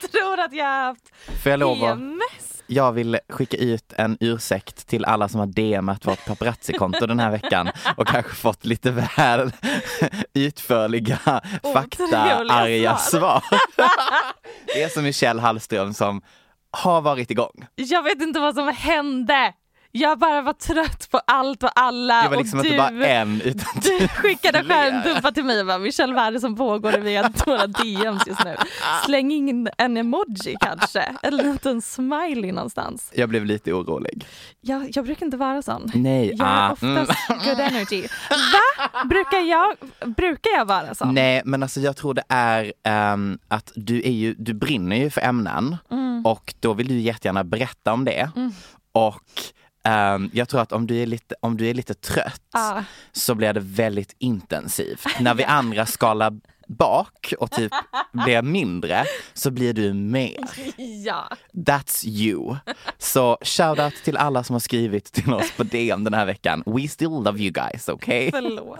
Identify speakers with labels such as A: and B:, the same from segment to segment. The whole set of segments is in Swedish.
A: Jag tror att jag har haft
B: Får jag lov att...
A: PMS.
B: Jag vill skicka ut en ursäkt till alla som har DMat vårt paparazzi-konto den här veckan och kanske fått lite väl utförliga, faktaarga svar. Det är som Michelle Hallström som har varit igång.
A: Jag vet inte vad som hände. Jag bara var trött på allt och alla.
B: Det var liksom
A: och du,
B: inte bara en utan
A: du skickade
B: flera.
A: skärmdumpar till mig och bara Michelle vad är det som pågår i via våra DMs just nu? Släng in en emoji kanske, en liten smiley någonstans.
B: Jag blev lite orolig.
A: Jag, jag brukar inte vara sån.
B: Nej,
A: Jag är
B: ah,
A: oftast good energy. Va? Brukar jag, brukar jag vara så?
B: Nej, men alltså jag tror det är ehm, att du, är ju, du brinner ju för ämnen och då vill du jättegärna berätta om det. Och ehm, jag tror att om du är lite, om du är lite trött
A: Ja.
B: så blir det väldigt intensivt. När vi andra skalar bak och typ blir mindre så blir du mer.
A: Ja.
B: That's you. Så shoutout till alla som har skrivit till oss på DM den här veckan. We still love you guys, okay?
A: Förlåt.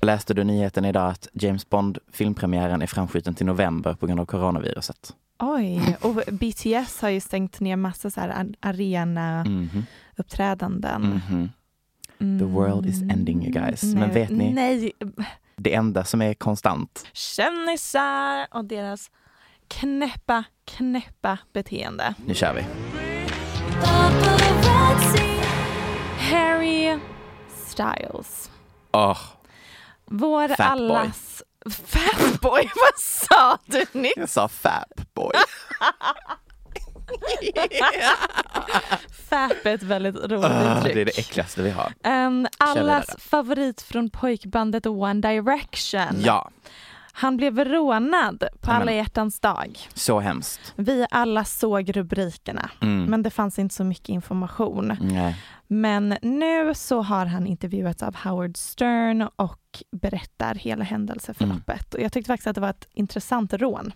B: Läste du nyheten idag att James Bond filmpremiären är framskjuten till november på grund av coronaviruset?
A: Oj, och BTS har ju stängt ner massa så här arena
B: Mhm,
A: uppträdanden.
B: mhm. The world is ending you guys. Men vet ni,
A: Mm. Nej,
B: det enda som är konstant,
A: kändisar och deras knäppa, knäppa beteende.
B: nu kör vi.
A: Harry Styles.
B: Åh,
A: Vår
B: Fatboy.
A: allas... Fatboy? Vad sa du nyss?
B: jag sa fap boy.
A: Fap är ett väldigt roligt
B: Ah,
A: uttryck.
B: det är det äckligaste vi har.
A: Ehm,
B: vidare.
A: allas favorit från pojkbandet One Direction.
B: Ja,
A: Han blev rånad på
B: Amen.
A: alla hjärtans dag.
B: så hemskt.
A: Vi alla såg rubrikerna
B: Mm.
A: men det fanns inte så mycket information.
B: Nej.
A: Men nu så har han intervjuats av Howard Stern och berättar hela händelseförloppet. Och jag tyckte faktiskt att det var ett intressant rån.
B: Mm.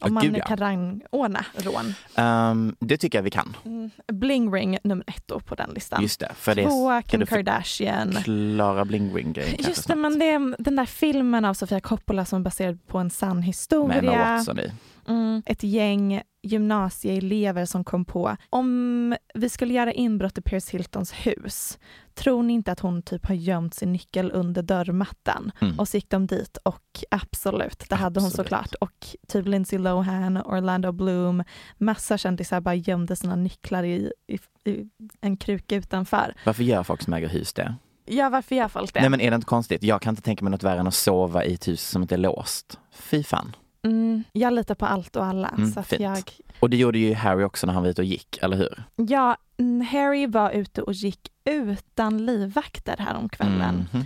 B: Ja,
A: Om man
B: gud,
A: nu
B: ja.
A: kan rangordna rån.
B: Ehm, det tycker jag vi kan.
A: Mm, Bling ring nummer ett då på den listan.
B: Just det, för det
A: Två
B: är
A: Kim
B: det för
A: Kardashian.
B: Klara Bling Ring grejen kanske
A: Just det,
B: snart.
A: men det är den där filmen av Sofia Coppola som är baserad på en sann
B: Med Emma
A: historia.
B: Watson i.
A: Mm. Ett gäng gymnasieelever som kom på, om vi skulle göra inbrott i Paris Hiltons hus, tror ni inte att hon typ har gömt sin nyckel under dörrmattan?
B: Mm.
A: Och så gick de dit och absolut, det hade hon
B: Absolut.
A: såklart. Och typ Lindsay Lohan, Orlando Bloom, massa kändisar bara gömde sina nycklar i, i, i en kruka utanför.
B: Varför gör folk som äger hus det?
A: Ja, varför gör folk det?
B: Nej men är det inte konstigt? Jag kan inte tänka mig något värre än att sova i ett hus som inte är låst. Fy fan.
A: Mm, jag litar på allt och alla.
B: Mm,
A: så att
B: fint.
A: jag,
B: Och det gjorde ju Harry också när han var ute och gick, eller hur?
A: ja, mm, Harry var ute och gick utan livvakter häromkvällen.
B: Mhm.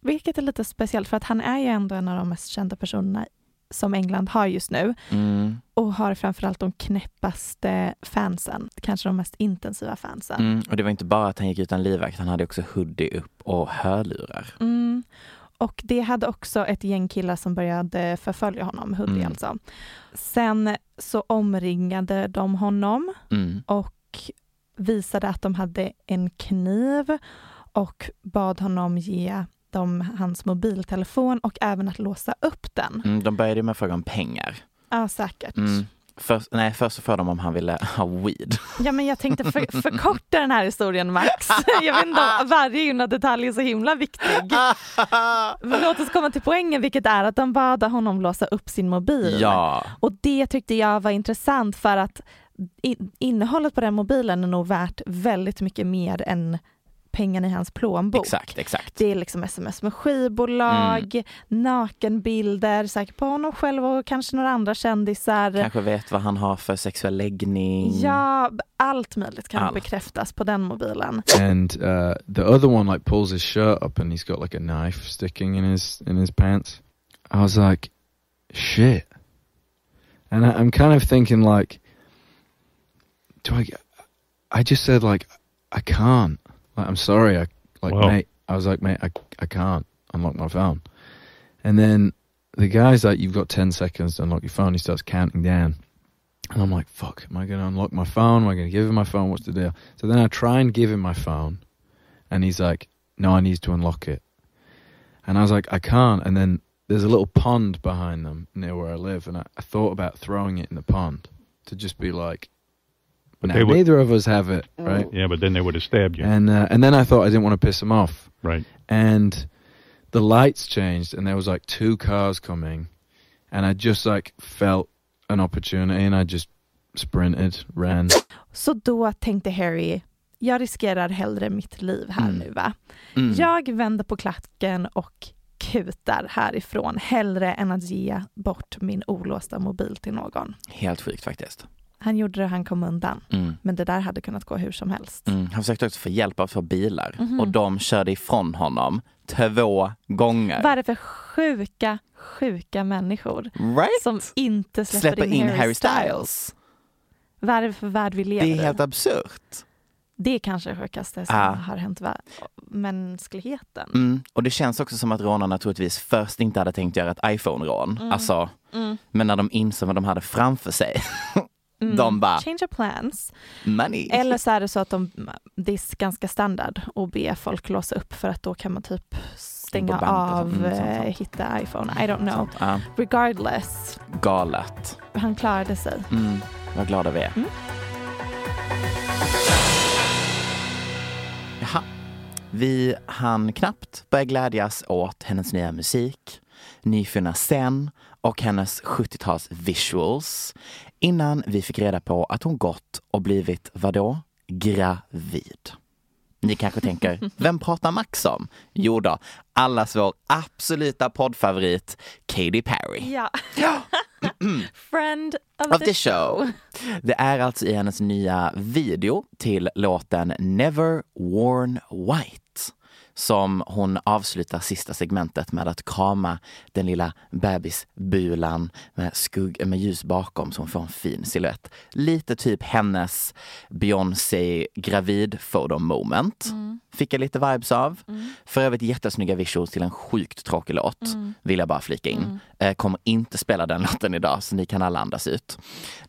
A: Vilket är lite speciellt för att han är ju ändå en av de mest kända personerna som England har just nu
B: Mm.
A: och har framförallt de knäppaste fansen, kanske de mest intensiva fansen.
B: Mm. Och det var inte bara att han gick utan livvakt, han hade också hoodie upp och hörlurar.
A: Mm. Och det hade också ett gäng killar som började förfölja honom, Hoodie
B: Mm.
A: alltså. Sen så omringade de honom
B: Mm.
A: och visade att de hade en kniv och bad honom ge dem hans mobiltelefon och även att låsa upp den.
B: Mm. De började ju med att fråga om pengar.
A: Ja, säkert.
B: Mm. Först, nej, först så frågade de om han ville ha weed.
A: Ja, men jag tänkte för, förkorta den här historien, Max. Jag vet inte om varje enda detalj är så himla viktig. Men låt oss komma till poängen, vilket är att de bad honom låsa upp sin mobil.
B: Ja.
A: Och det tyckte jag var intressant för att i- innehållet på den mobilen är nog värt väldigt mycket mer än pengarna i hans plånbok.
B: Exakt, Mm. exakt.
A: Det är liksom sms med skivbolag, nakenbilder säkert på honom själv och kanske några andra kändisar.
B: Kanske vet vad han har för sexuell läggning.
A: Ja, allt möjligt kan
B: Allt.
A: bekräftas på den mobilen.
C: and uh, the other one like pulls his shirt up and he's got like a knife sticking in his in his pants. I was like, shit, and I, I'm kind of thinking like, do I? I just said like, I can't. Like, I'm sorry. I like
D: Wow.
C: mate. I was like, mate, I I can't unlock my phone. And then the guy's like, you've got ten seconds to unlock your phone. He starts counting down. And I'm like, fuck, am I going to unlock my phone? Am I going to give him my phone? What's the deal? So then I try and give him my phone. And he's like, no, I need to unlock it. And I was like, I can't. And then there's a little pond behind them near where I live. And I, I thought about throwing it in the pond to just be like,
E: But
C: "Nah,
E: they would-
C: neither of us have it,
F: Mm.
C: right?
E: Yeah, but then they would have stabbed you.
C: And, uh, and then I thought I didn't want to piss him off
E: right.
C: and the lights changed and there was like two cars coming and i just like felt an opportunity and i just sprinted ran
A: Så då tänkte Harry, jag riskerar hellre mitt liv här
B: Mm.
A: nu va?
B: Mm.
A: Jag vänder på klacken och kutar härifrån hellre än att ge bort min olåsta mobil till någon.
B: Helt sjukt faktiskt.
A: Han gjorde det, han kom undan.
B: Mm.
A: Men det där hade kunnat gå hur som helst.
B: Mm. Han försökte också få hjälp av två bilar och de körde ifrån honom två gånger.
A: Vad är det för sjuka, sjuka människor
B: Right?
A: som inte släpper,
B: Släpper in Harry
A: Styles?
B: Styles.
A: Vad är det för värld vi lever
B: Det är
A: i?
B: helt absurt.
A: Det är kanske det sjukaste som
B: Ah.
A: har hänt va- mänskligheten.
B: Mm. Och det känns också som att rånarna troligtvis först inte hade tänkt göra ett iPhone-rån.
A: Mm.
B: Alltså, men när de insåg vad de hade framför sig. Mm. De bara,
A: Mm. Change of plans.
B: money.
A: Eller så är det så att de, det är ganska standard att be folk låsa upp för att då kan man typ stänga
B: Gå bank och sånt.
A: av,
B: Mm, sånt, Mm,
A: eh,
B: sånt.
A: hitta iPhone. I don't know.
B: Ja,
A: Regardless,
B: galet.
A: han klarade sig.
B: Mm. Vad glada vi är.
A: Mm.
B: Jaha. Vi hann knappt börja glädjas åt hennes nya musik, nyfunna scen och hennes 70-tals visuals innan vi fick reda på att hon gått och blivit vadå? Gravid. Ni kanske tänker, vem pratar Max om? Jo då, allas vår absoluta poddfavorit Katy Perry.
A: Ja.
B: Mm.
A: Friend of,
B: Of the show. Det är alltså i hennes nya video till låten Never Worn White som hon avslutar sista segmentet med att krama den lilla bebisbulan med, skugg, med ljus bakom så hon får en fin silhuett. Lite typ hennes Beyoncé gravid photo moment. Fick jag lite vibes av. För övrigt jättesnygga visuals till en sjukt tråkig låt. Vill jag bara flika in. Eh, kommer inte spela den låten idag så ni kan alla andas ut.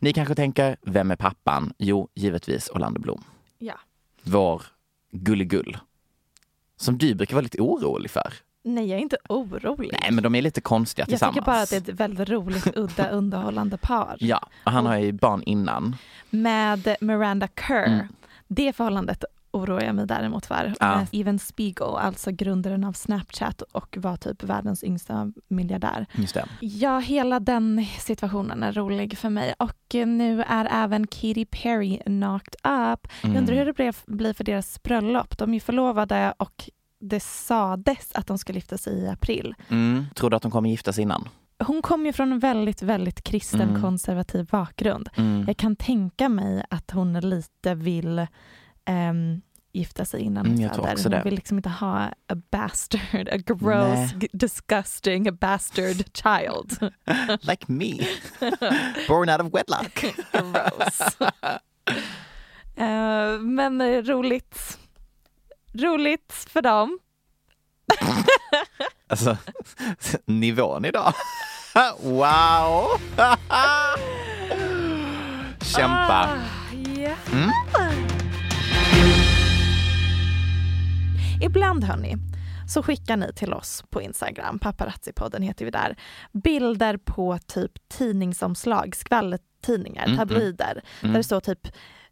B: Ni kanske tänker, vem är pappan? Jo, givetvis Orlando Bloom.
A: Ja.
B: Vår gulligull. Som du brukar vara lite orolig för.
A: Nej, jag är inte orolig.
B: Nej, men de är lite konstiga
A: jag
B: tillsammans.
A: tycker bara att det är ett väldigt roligt, udda, underhållande par.
B: Ja, och han har ju barn innan.
A: med Miranda Kerr.
B: Mm.
A: Det förhållandet oroar jag mig däremot för.
B: Ja.
A: Med Steven Spiegel, alltså grundaren av Snapchat och var typ världens yngsta miljardär.
B: Just det.
A: Ja, hela den situationen är rolig för mig och eh, nu är även Katy Perry knocked up. Jag
B: Mm.
A: undrar hur det blev- blir för deras bröllop. De är ju förlovade och det sades att de ska gifta sig i april.
B: Mm. Tror du att de kommer gifta sig innan?
A: Hon kom ju från en väldigt, väldigt kristen
B: Mm.
A: konservativ bakgrund.
B: Mm.
A: Jag kan tänka mig att hon lite vill ehm, gifta sig innan
B: Mm,
A: hon
B: jag tror
A: föder.
B: också
A: Hon
B: det.
A: vill liksom inte ha a bastard, a gross,
B: Nej.
A: g- disgusting bastard child.
B: Like me. Born out of wedlock.
A: gross. Eh, men eh, roligt. Roligt för dem.
B: Alltså, nivån idag. wow! Kämpa. Mm?
A: Ah, ja. Ibland hörni, så skickar ni till oss på Instagram, paparazzi-podden heter vi där, bilder på typ tidningsomslag, skvallertidningar,
B: Mm,
A: tabloider, där det står typ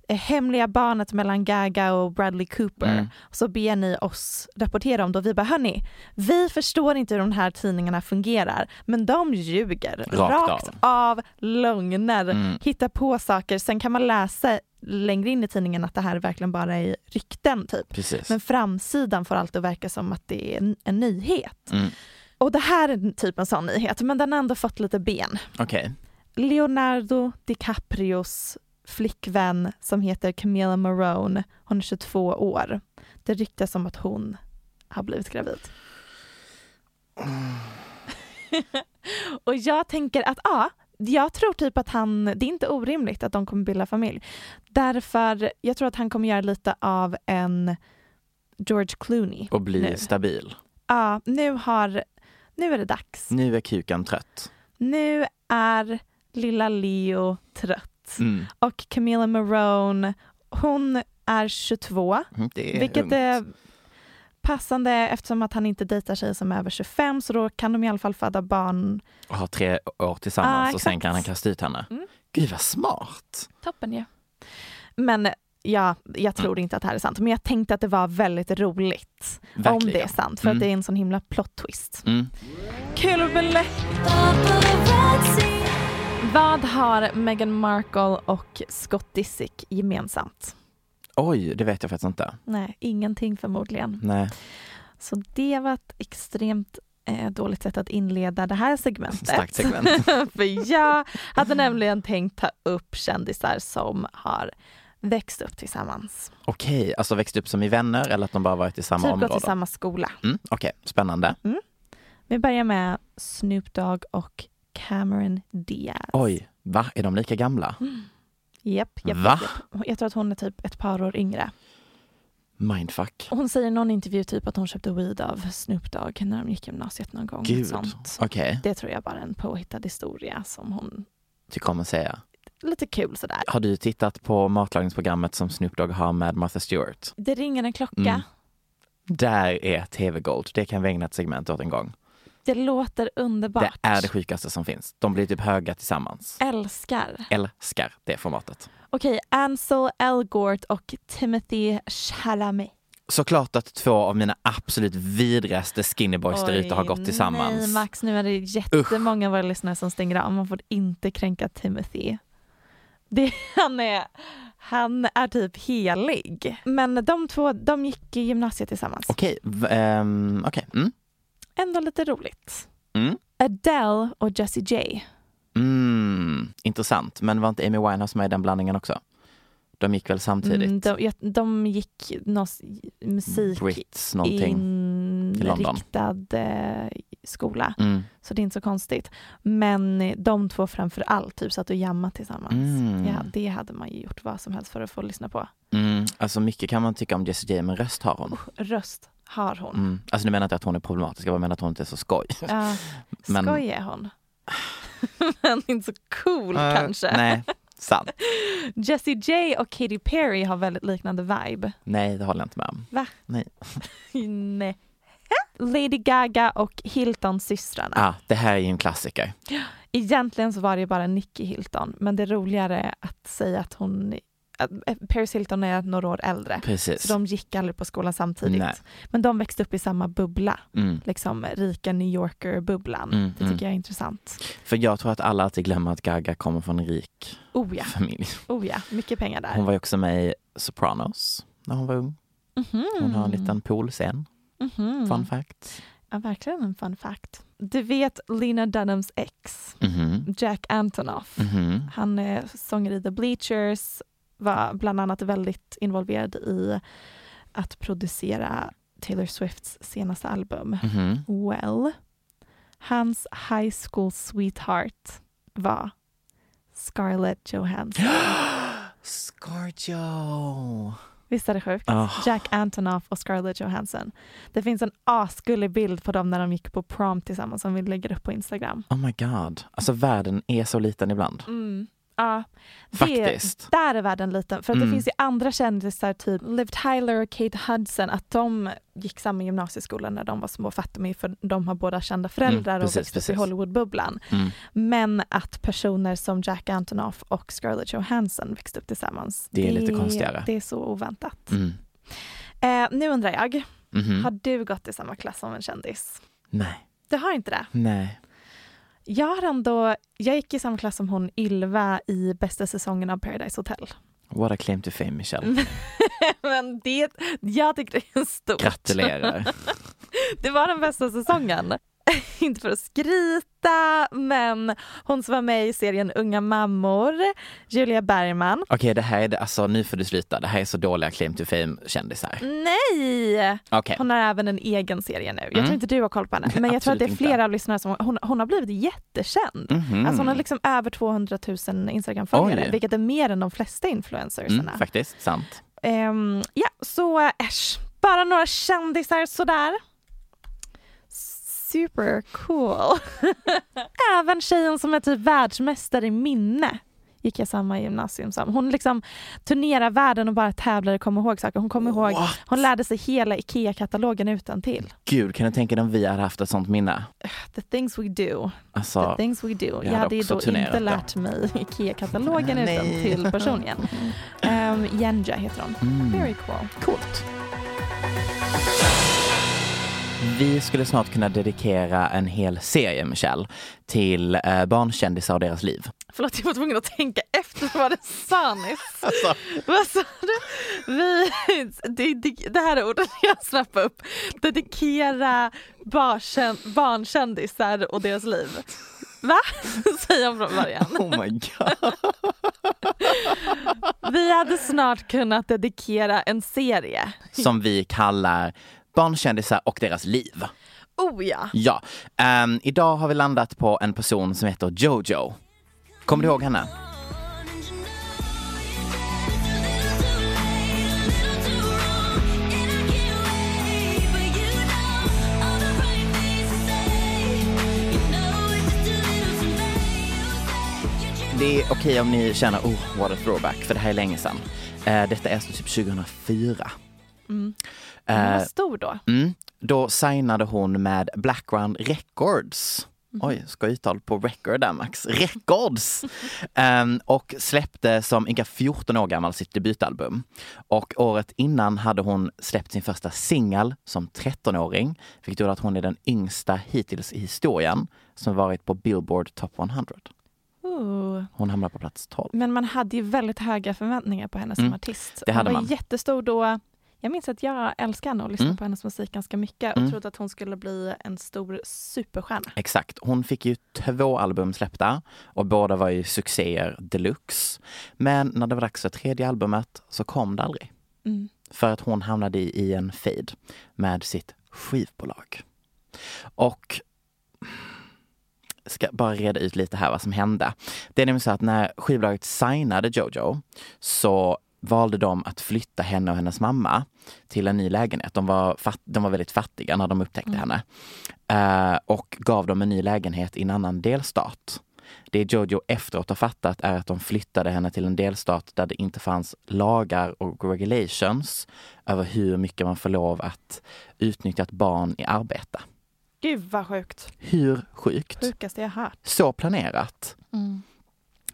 A: eh, hemliga barnet mellan Gaga och Bradley Cooper.
B: Mm.
A: Så ber ni oss rapportera om det och vi bara hörni, vi förstår inte hur de här tidningarna fungerar men de ljuger
B: Rakt av.
A: av lögner,
B: Mm.
A: hitta på saker. Sen kan man läsa längre in i tidningen att det här verkligen bara är rykten typ.
B: Precis.
A: Men framsidan får alltid verka som att det är en, en nyhet.
B: Mm.
A: Och det här är en typ en sån nyhet, men den har ändå fått lite ben.
B: Okej.
A: Leonardo DiCaprios flickvän som heter Camilla Marone, hon är 22 år. Det ryktas om att hon har blivit gravid. Och jag tänker att ja, jag tror typ att han, det är inte orimligt att de kommer bilda familj. Därför, jag tror att han kommer göra lite av en George Clooney.
B: Och bli
A: Nu.
B: stabil.
A: Ja, nu har, nu är det dags.
B: Nu är kuken trött.
A: Nu är lilla Leo trött.
B: Mm.
A: Och Camilla Marone, hon är 22,
B: Mm, Det är
A: vilket
B: ungt.
A: är passande eftersom att han inte dejtar tjejer som är över 25 så då kan de i alla fall föda barn.
B: Och ha tre år tillsammans
A: Ah,
B: och sen
A: exakt.
B: kan han kasta ut henne.
A: Mm.
B: Gud vad smart!
A: Toppen ju. Men ja, jag tror inte att det här är sant, men jag tänkte att det var väldigt roligt om
B: Verkligen.
A: det är sant, för
B: Mm.
A: att det är en sån himla plot twist.
B: Mm.
A: Kul Vad har Meghan Markle och Scott Disick gemensamt?
B: Oj, det vet jag faktiskt inte.
A: Nej, ingenting förmodligen.
B: Nej.
A: Så det var ett extremt eh, dåligt sätt att inleda det här segmentet.
B: Starkt segment.
A: För jag hade nämligen tänkt ta upp kändisar som har växt upp tillsammans.
B: Okej, alltså växt upp som i vänner eller att de bara varit i samma
A: typ gått i
B: område?
A: samma skola.
B: Mm, Okej, spännande.
A: Vi börjar med Snoop Dogg och Cameron Diaz.
B: Oj, va? Är de lika gamla?
A: Mm. Japp, japp,
B: Va?
A: japp. Jag tror att hon är typ ett par år yngre.
B: Mindfuck.
A: Hon säger i någon intervju typ att hon köpte weed av Snoop Dogg när de gick gymnasiet någon gång.
B: Gud.
A: Sånt.
B: Okej,
A: Det tror jag bara är en påhittad historia som hon,
B: tycker om att säga.
A: lite kul sådär.
B: Har du tittat på matlagningsprogrammet som Snoop Dogg har med Martha Stewart?
A: Det ringer en klocka.
B: Mm. Där är tv-gold. Det kan vi ägna ett segment åt en gång.
A: Det låter underbart.
B: Det är det sjukaste som finns. De blir typ höga tillsammans.
A: Älskar.
B: Älskar det formatet.
A: Okej, Ansel Elgort och Timothy Chalamet.
B: Såklart att två av mina absolut vidrigaste skinnyboys där ute har gått tillsammans.
A: Nej Max, nu är det jättemånga av våra lyssnare som stänger av. Man får inte kränka Timothy. Det, han, är, han är typ helig. Men de två, de gick i gymnasiet tillsammans.
B: Okej, v- ehm, okej. Mm.
A: Ändå lite roligt.
B: Mm.
A: Adele och Jessie J.
B: Mm. Intressant, men var inte Amy Winehouse med i den blandningen också? De gick väl samtidigt?
A: Mm, de, jag- de gick någon s- musik
B: Brits någonting. i London.
A: inriktad eh, skola.
B: Mm.
A: Så det är inte så konstigt. Men de två framför allt typ satt och jammade tillsammans.
B: Mm.
A: Ja, det hade man ju gjort vad som helst för att få lyssna på.
B: Mm. Alltså mycket kan man tycka om Jessie J, men röst har hon.
A: Röst har hon.
B: Mm. Alltså nu menar jag inte att hon är problematisk, jag bara menar att hon inte är så skoj.
A: Ja,
B: Men-
A: skoj är hon. Men inte så cool kanske.
B: Eh, Nej, sant.
A: Jessie J och Katy Perry har väldigt liknande vibe.
B: Nej, det håller jag inte med om.
A: Va?
B: Nej.
A: Nej. Lady Gaga och Hilton-systrarna.
B: Ah, det här är ju en klassiker.
A: Egentligen så var det ju bara Nicky Hilton, men det är roligare att säga att hon... Att eh, Paris Hilton är några år äldre.
B: Precis.
A: Så de gick aldrig på skolan samtidigt.
B: Nej.
A: Men de växte upp i samma bubbla,
B: Mm.
A: liksom rika New Yorker-bubblan.
B: Mm,
A: det tycker
B: mm.
A: jag är intressant.
B: För jag tror att alla alltid glömmer att Gaga kommer från en rik
A: Oh ja,
B: familj.
A: oh ja, mycket pengar där.
B: Hon var ju också med i Sopranos när hon var ung. Hon har en
A: Mm.
B: liten poolscen.
A: Mhm.
B: Fun fact.
A: Ja, verkligen en fun fact. Du vet Lena Dunhams ex,
B: Mhm.
A: Jack Antonoff.
B: Mhm.
A: Han eh, är sångare i The Bleachers, var bland annat väldigt involverad i att producera Taylor Swifts senaste album.
B: Mhm.
A: Well, hans high school sweetheart var Scarlett Johansson.
B: Scorgio.
A: Visst är det sjukt?
B: Ah.
A: Jack Antonoff och Scarlett Johansson. Det finns en asgullig bild på dem när de gick på prom tillsammans som vi lägger upp på Instagram.
B: Oh my god. Alltså världen är så liten ibland.
A: Mm. Ja, det,
B: Faktiskt.
A: Där är världen liten. För att
B: Mm.
A: det finns ju andra kändisar, typ Liv Tyler och Kate Hudson, att de gick samma gymnasieskola när de var små. För att de, är- för de har båda kända föräldrar
B: Mm, precis,
A: och växte upp i
B: precis.
A: Hollywoodbubblan.
B: Mm.
A: Men att personer som Jack Antonoff och Scarlett Johansson växte upp tillsammans.
B: Det är lite konstigare.
A: Det är så oväntat.
B: Mm.
A: Eh, nu undrar jag,
B: Mhm.
A: har du gått i samma klass som en kändis?
B: Nej.
A: Du har inte det?
B: Nej.
A: Jag har ändå, jag gick i samma klass som hon Ylva i bästa säsongen av Paradise Hotel.
B: What a claim to fame,
A: Mm.
B: Michelle.
A: Men det, jag tyckte det är stort.
B: Gratulerar.
A: Det var den bästa säsongen. Inte för att skrita, men hon som var med i serien Unga mammor, Julia Bergman.
B: Okej, det här är det, alltså nu får du sluta. Det här är så dåliga claim to fame-kändisar.
A: Nej!
B: Okej.
A: Hon har även en egen serie nu. Jag
B: Mm.
A: tror inte du har koll på henne, men jag tror att det är
B: Absolut inte.
A: flera av lyssnarna som... Hon, hon har blivit jättekänd.
B: Mhm.
A: Alltså hon har liksom över 200 000 Instagram-följare,
B: Oj.
A: vilket är mer än de flesta influencersarna.
B: Mm, faktiskt, sant.
A: Ehm, ja, så äsch. Bara några kändisar sådär. Super cool. Även tjejen som är typ världsmästare i minne gick jag samma gymnasium som. Hon liksom turnerar världen och bara tävlar och kommer ihåg saker. Hon kommer ihåg,
B: What?
A: hon lärde sig hela IKEA-katalogen utan till.
B: Gud, kan du tänka dig om vi hade haft ett sånt minne?
A: The things we do,
B: Alltså,
A: the things we do. Jag,
B: hade
A: hade ju
B: också
A: då
B: turnerat
A: inte
B: det.
A: lärt mig IKEA-katalogen
B: Nej.
A: utan till personligen. Um, Jenja heter hon.
B: Mm.
A: Very cool.
B: coolt. Vi skulle snart kunna dedikera en hel serie, Michelle, till eh, barnkändisar och deras liv.
A: Förlåt, jag var tvungen att tänka efter vad det sa nyss.
B: Alltså.
A: Vad sa du? Vi, det, det, det här är ordet jag snappade upp. Dedikera barkän, barnkändisar och deras liv. Va? Säger jag från början.
B: Oh my god.
A: Vi hade snart kunnat dedikera en serie.
B: Som vi kallar barnkändisar och deras liv.
A: Oh ja.
B: Ja, ehm, idag har vi landat på en person som heter Jojo. Kommer du ihåg henne? Det är okej om ni känner, oh, what a throwback, för det här är länge sedan. Eh, detta är alltså typ 2004.
A: Hon
B: Eh,
A: var stor då.
B: Mm. Då signade hon med Blackground Records. Oj, ska uttal på record där Max. Records! Ehm, och släppte som ynka 14 år gammal sitt debutalbum. Och året innan hade hon släppt sin första singel som 13-åring, vilket gjorde att hon är den yngsta hittills i historien som varit på Billboard Top 100.
A: Ooh.
B: Hon hamnar på plats 12.
A: Men man hade ju väldigt höga förväntningar på henne som
B: Mm,
A: artist.
B: det hade
A: hon var
B: man.
A: jättestor då. Jag minns att jag älskade henne och lyssnade
B: Mm.
A: på hennes musik ganska mycket och
B: Mm.
A: trodde att hon skulle bli en stor superstjärna.
B: Exakt. Hon fick ju två album släppta och båda var ju succéer deluxe. Men när det var dags för tredje albumet så kom det aldrig.
A: Mm.
B: För att hon hamnade i, i en feed med sitt skivbolag. Och ska bara reda ut lite här vad som hände. Det är nämligen så att när skivbolaget signade Jojo så valde de att flytta henne och hennes mamma till en ny lägenhet. De var, fatt, de var väldigt fattiga när de upptäckte henne. Eh, och gav dem en ny lägenhet i en annan delstat. Det Jojo efteråt har fattat är att de flyttade henne till en delstat där det inte fanns lagar och regulations över hur mycket man får lov att utnyttja ett barn i arbete.
A: Gud vad sjukt.
B: Hur sjukt!
A: Sjukaste jag hört.
B: så planerat.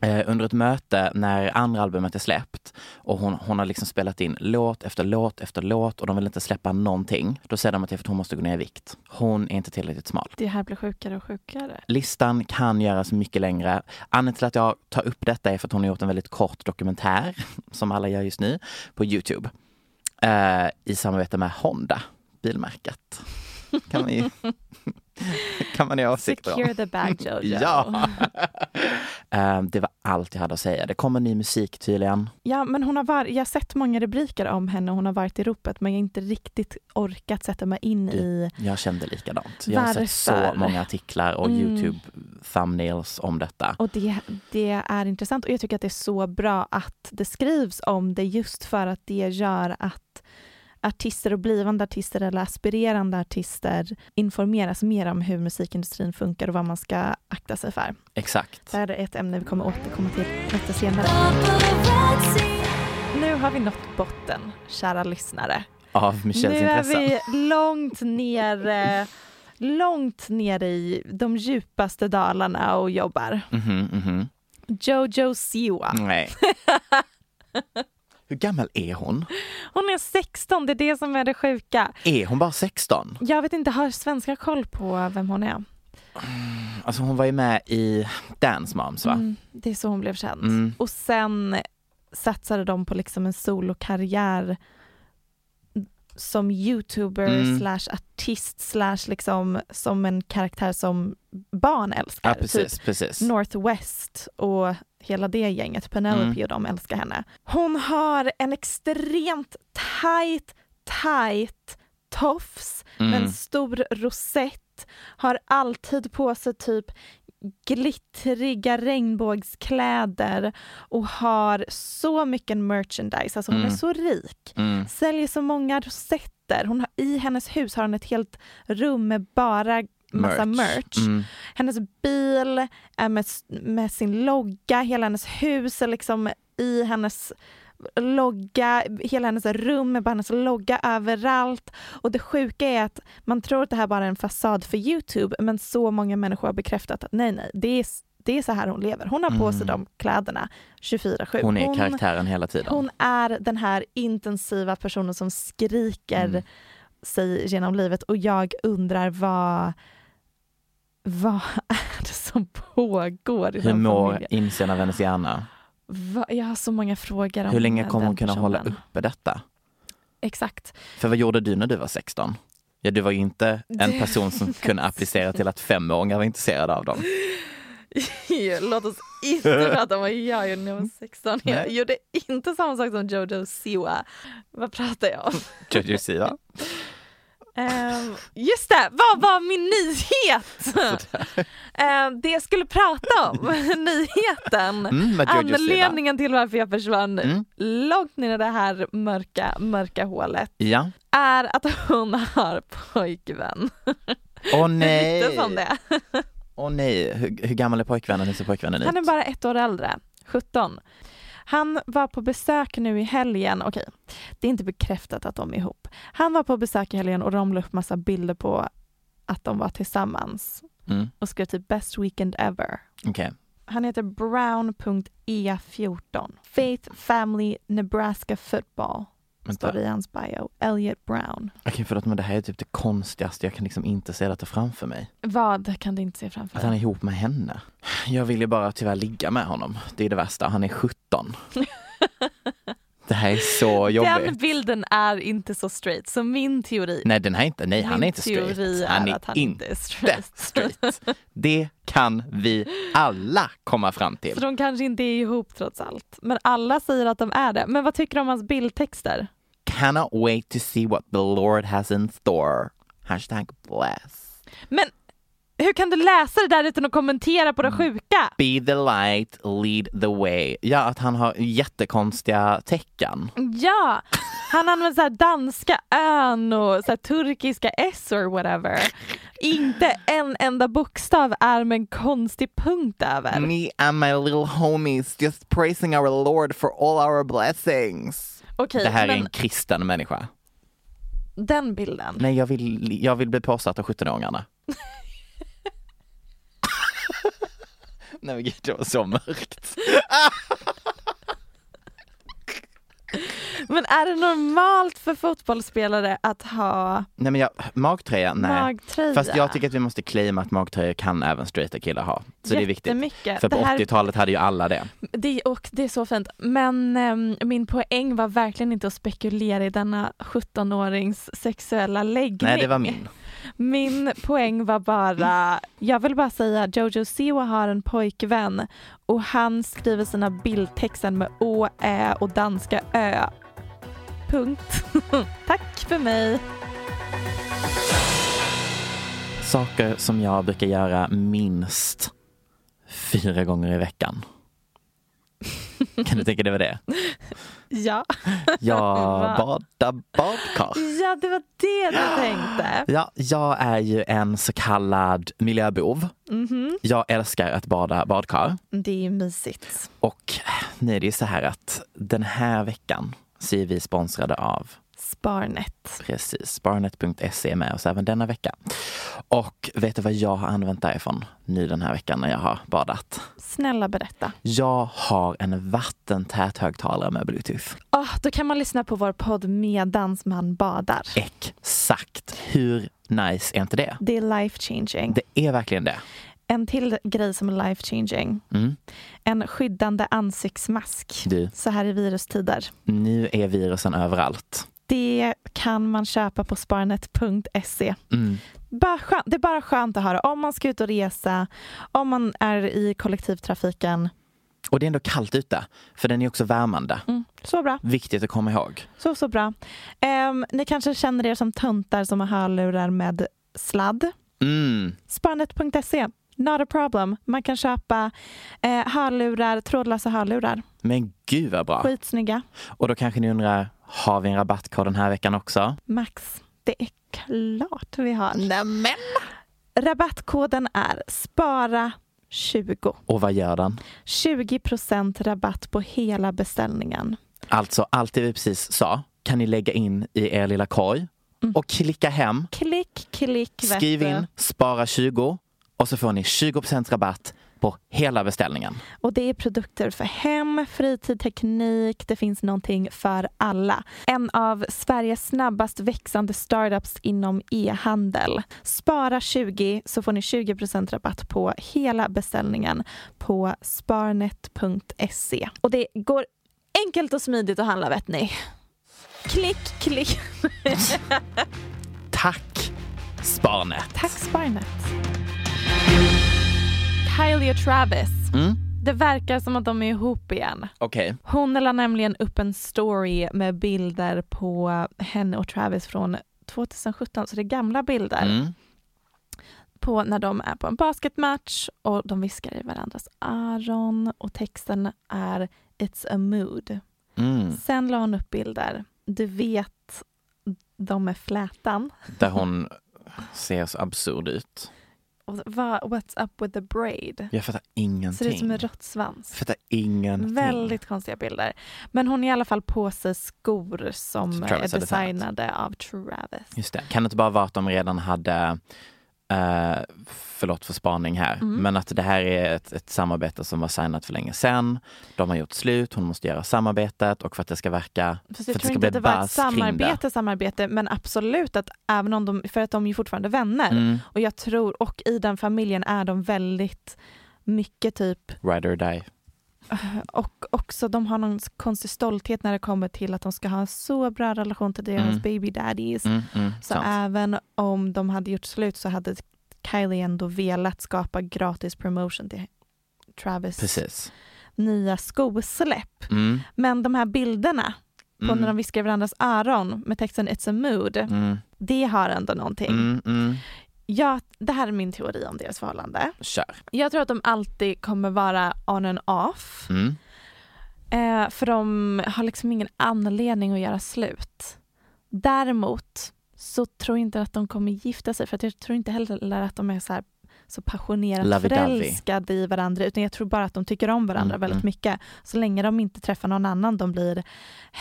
B: Eh, under ett möte när andra albumet är släppt och hon, hon har liksom spelat in låt efter låt efter låt och de vill inte släppa någonting. Då säger de att det är för att hon måste gå ner i vikt. Hon är inte tillräckligt smal.
A: Det här blir sjukare och sjukare.
B: Listan kan göras mycket längre. Anledningen till att jag tar upp detta är för att hon har gjort en väldigt kort dokumentär, som alla gör just nu, på Youtube. Eh, I samarbete med Honda, bilmärket. Kan man ju kan man ha åsikter om.
A: Secure the bag Jojo.
B: Ja. Eh, det var allt jag hade att säga. Det kommer ny musik tydligen.
A: Ja, men hon har var- jag har sett många rubriker om henne och hon har varit i ropet men jag har inte riktigt orkat sätta mig in i...
B: Jag kände likadant. Jag har sett så
A: Varför?
B: många artiklar och
A: Mm.
B: Youtube thumbnails om detta.
A: Och det, det är intressant och jag tycker att det är så bra att det skrivs om det just för att det gör att artister och blivande artister eller aspirerande artister informeras mer om hur musikindustrin funkar och vad man ska akta sig för.
B: Exakt.
A: Det här är ett ämne vi kommer återkomma till lite senare. Nu har vi nått botten, kära lyssnare.
B: Av Michelles
A: nu
B: intressen.
A: är vi långt ner, eh, långt ner i de djupaste dalarna och jobbar.
B: Mhm, mhm.
A: Jojo Siwa.
B: Nej. Hur gammal är hon?
A: Hon är 16, det är det som är det sjuka.
B: Är hon bara 16?
A: Jag vet inte, har svenskar koll på vem hon är?
B: Alltså hon var ju med i Dance Moms va?
A: Mm, det är så hon blev känd.
B: Mm.
A: Och sen satsade de på liksom en solokarriär som youtuber
B: Mm.
A: slash artist slash liksom som en karaktär som barn älskar. Typ
B: Ja precis, precis.
A: Northwest och hela det gänget, Penelope
B: Mm.
A: och de älskar henne. Hon har en extremt tight, tight tofs med
B: Mm.
A: en stor rosett, har alltid på sig typ glittriga regnbågskläder och har så mycket merchandise, alltså hon
B: Mm.
A: är så rik.
B: Mm.
A: Säljer så många rosetter, hon har, i hennes hus har hon ett helt rum med bara massa merch.
B: Mm.
A: Hennes bil är med, med sin logga, hela hennes hus är liksom i hennes logga, hela hennes rum är bara hennes logga överallt. Och det sjuka är att man tror att det här bara är en fasad för Youtube men så många människor har bekräftat att nej, nej, det är, det är så här hon lever. Hon har på sig
B: Mm.
A: de kläderna 24-7.
B: Hon är karaktären hela tiden.
A: Hon är den här intensiva personen som skriker
B: Mm.
A: sig genom livet och jag undrar vad vad är det som pågår i
B: Hur
A: den
B: mår
A: familjen?
B: insidan av hennes hjärna?
A: Va, jag har så många frågor om
B: Hur länge kommer
A: den
B: hon kunna hålla
A: personen.
B: uppe detta?
A: Exakt.
B: För vad gjorde du när du var 16? Ja, du var ju inte en
A: Det-
B: person som kunde applicera till att femåringar var intresserade av dem.
A: Låt oss inte prata om vad jag gjorde när jag var 16. Jag
B: Mm. Nej.
A: gjorde inte samma sak som Jojo Siwa. Vad pratar jag om?
B: Jojo Siwa.
A: Ehm, just det, vad var min nyhet? Ehm, det jag skulle prata om, nyheten.
B: Mm, med Jojo Siwa.
A: Anledningen till varför jag försvann
B: Mm.
A: långt ner i det här mörka, mörka hålet
B: Ja.
A: är att hon har pojkvän.
B: Åh
A: Det
B: nej.
A: ryktas om det.
B: Åh nej. Hur, hur gammal är pojkvännen? Hur ser pojkvännen
A: Han är
B: ut?
A: bara ett år äldre, 17. Han var på besök nu i helgen, okej, det är inte bekräftat att de är ihop. Han var på besök i helgen och de la upp massa bilder på att de var tillsammans
B: Mm.
A: och skrev typ best weekend ever.
B: Okej.
A: Han heter brown.e14. Faith Family Nebraska Football.
B: Vänta.
A: står det i hans bio. Elliot Brown.
B: Okej, förlåt men det här är typ det konstigaste. Jag kan liksom inte se detta framför mig.
A: Vad kan du inte se framför
B: Att han är
A: dig?
B: ihop med henne. Jag vill ju bara tyvärr ligga med honom. Det är det värsta. Han är 17. Det här är så jobbigt.
A: Den bilden är inte så straight, så min teori,
B: Nej, den här är inte, nej han
A: min
B: är inte
A: teori
B: straight.
A: är
B: Han är,
A: att han
B: inte
A: inte är straight.
B: straight. Det kan vi alla komma fram
A: Så
B: till.
A: de kanske inte är ihop trots allt. Men alla säger att de är det. Men vad tycker du om hans bildtexter?
B: Cannot wait to see what the Lord has in store. Hashtag bless.
A: Men hur kan du läsa det där utan att kommentera på det
B: Mm.
A: sjuka?
B: Be the light, lead the way. Ja, att han har jättekonstiga tecken.
A: Ja, han använder så här danska ön och så här turkiska s or whatever. Inte en enda bokstav är med en konstig punkt över.
B: Me and my little homies just praising our Lord for all our blessings.
A: Okej,
B: Det här är
A: Typ, men
B: en kristen människa.
A: den bilden.
B: Nej, jag vill, jag vill bli påsatt av 17-åringarna. Nej men gud, det var så mörkt.
A: Men är det normalt för fotbollsspelare att ha
B: Nej men jag, magtröja, nej.
A: magtröja?
B: Fast jag tycker att vi måste claima att magtröjor kan även straighta killar ha. Så det är viktigt.
A: Jättemycket.
B: För på
A: det, här,
B: 80-talet hade ju alla det.
A: det, och det är så fint. Men ehm, min poäng var verkligen inte att spekulera i denna 17-årings sexuella läggning.
B: Nej, det var min.
A: Min poäng var bara, jag vill bara säga Jojo Siwa har en pojkvän och han skriver sina bildtexter med å, ä och danska ö. Punkt. Tack för mig.
B: Saker som jag brukar göra minst fyra gånger i veckan. Kan du tänka dig vad det är?
A: Ja.
B: Jag
A: Va?
B: badar badkar.
A: ja, det var det du tänkte.
B: Ja, jag är ju en så kallad miljöbov.
A: Mhm.
B: Jag älskar att bada badkar.
A: Det är ju mysigt.
B: Och nu är det ju så här att den här veckan så är vi sponsrade av
A: Sparnet.
B: precis barnet.se är med oss även denna vecka. Och vet du vad jag har använt därifrån nu den här veckan när jag har badat?
A: Snälla berätta.
B: Jag har en vattentät högtalare med bluetooth.
A: Ah, då kan man lyssna på vår podd medans man badar.
B: Exakt! Hur nice är inte det?
A: Det är life changing.
B: Det är verkligen det.
A: En till grej som är life changing.
B: Mm.
A: En skyddande ansiktsmask.
B: Du,
A: Så här i virustider.
B: nu är virusen överallt.
A: Det kan man köpa på sparnet.se.
B: Mm.
A: Bara skönt, det är bara skönt att höra om man ska ut och resa, om man är i kollektivtrafiken.
B: Och det är ändå kallt ute, för den är också värmande.
A: Mm, så bra.
B: Viktigt att komma ihåg.
A: Så, så bra. Ehm, ni kanske känner er som töntar som har hörlurar med sladd.
B: Mm.
A: Sparnet.se, not a problem. Man kan köpa eh, hörlurar, trådlösa hörlurar.
B: Men gud vad bra!
A: Skitsnygga.
B: Och då kanske ni undrar, har vi en rabattkod den här veckan också?
A: Max, det är klart vi har. Nämen! Rabattkoden är SPARA20.
B: Och vad gör den?
A: 20 rabatt på hela beställningen.
B: Alltså allt det vi precis sa kan ni lägga in i er lilla korg och klicka hem.
A: Klick, klick, vet
B: Skriv
A: du.
B: in spara 20 och så får ni 20 rabatt på hela beställningen.
A: Och det är produkter för hem, fritid, teknik. Det finns någonting för alla. En av Sveriges snabbast växande startups inom e-handel. Spara 20 så får ni 20 rabatt på hela beställningen på sparnet.se. Och det går enkelt och smidigt att handla vet ni. Klick, klick.
B: Tack Sparnet!
A: Tack Sparnet. Kylie och Travis.
B: Mm.
A: Det verkar som att de är ihop igen.
B: Okej,
A: Hon la nämligen upp en story med bilder på henne och Travis från 2017, så det är gamla bilder
B: mm.
A: på när de är på en basketmatch och de viskar i varandras öron och texten är It's a mood.
B: Mm.
A: Sen la hon upp bilder, du vet de med flätan.
B: där hon ser så absurd ut.
A: Och vad, what's up with the braid?
B: Jag fattar ingenting.
A: Ser ut som en råttsvans.
B: Jag fattar ingenting.
A: Väldigt konstiga bilder. Men hon är i alla fall på sig skor som,
B: Som
A: är
B: Travis har designat.
A: designade av Travis.
B: Just det. Kan det inte bara vara att de redan hade, eh, förlåt för spaning här,
A: Mm.
B: men att det här är ett, ett samarbete som var signat för länge sedan. De har gjort slut, hon måste göra samarbetet och för att det ska verka,
A: Fast
B: för
A: jag tror
B: att det ska
A: inte
B: bli
A: att det var ett
B: buzz kring det.
A: samarbete, samarbete, men absolut att även om de, för att de är ju fortfarande vänner
B: mm,
A: och jag tror, och i den familjen är de väldigt mycket typ, eh,
B: ride or die.
A: och också de har någon konstig stolthet när det kommer till att de ska ha en så bra relation till deras
B: Mm.
A: baby daddies.
B: Mm, mm,
A: Så
B: sant.
A: även om de hade gjort slut så hade Kylie ändå velat skapa gratis promotion till Travis
B: Precis.
A: nya skosläpp.
B: Mm,
A: Men de här bilderna på
B: mm,
A: när de viskar i varandras öron med texten It's a mood,
B: mm,
A: det har ändå någonting.
B: mm, mm.
A: Ja, det här är min teori om deras förhållande.
B: Kör.
A: Jag tror att de alltid kommer vara on and off.
B: Mm.
A: Eh, för de har liksom ingen anledning att göra slut. Däremot så tror jag inte att de kommer gifta sig för att jag tror inte heller att de är så här så passionerat
B: Lovey-dovey.
A: förälskade i varandra utan jag tror bara att de tycker om varandra
B: Mm,
A: väldigt
B: mm.
A: mycket. Så länge de inte träffar någon annan de blir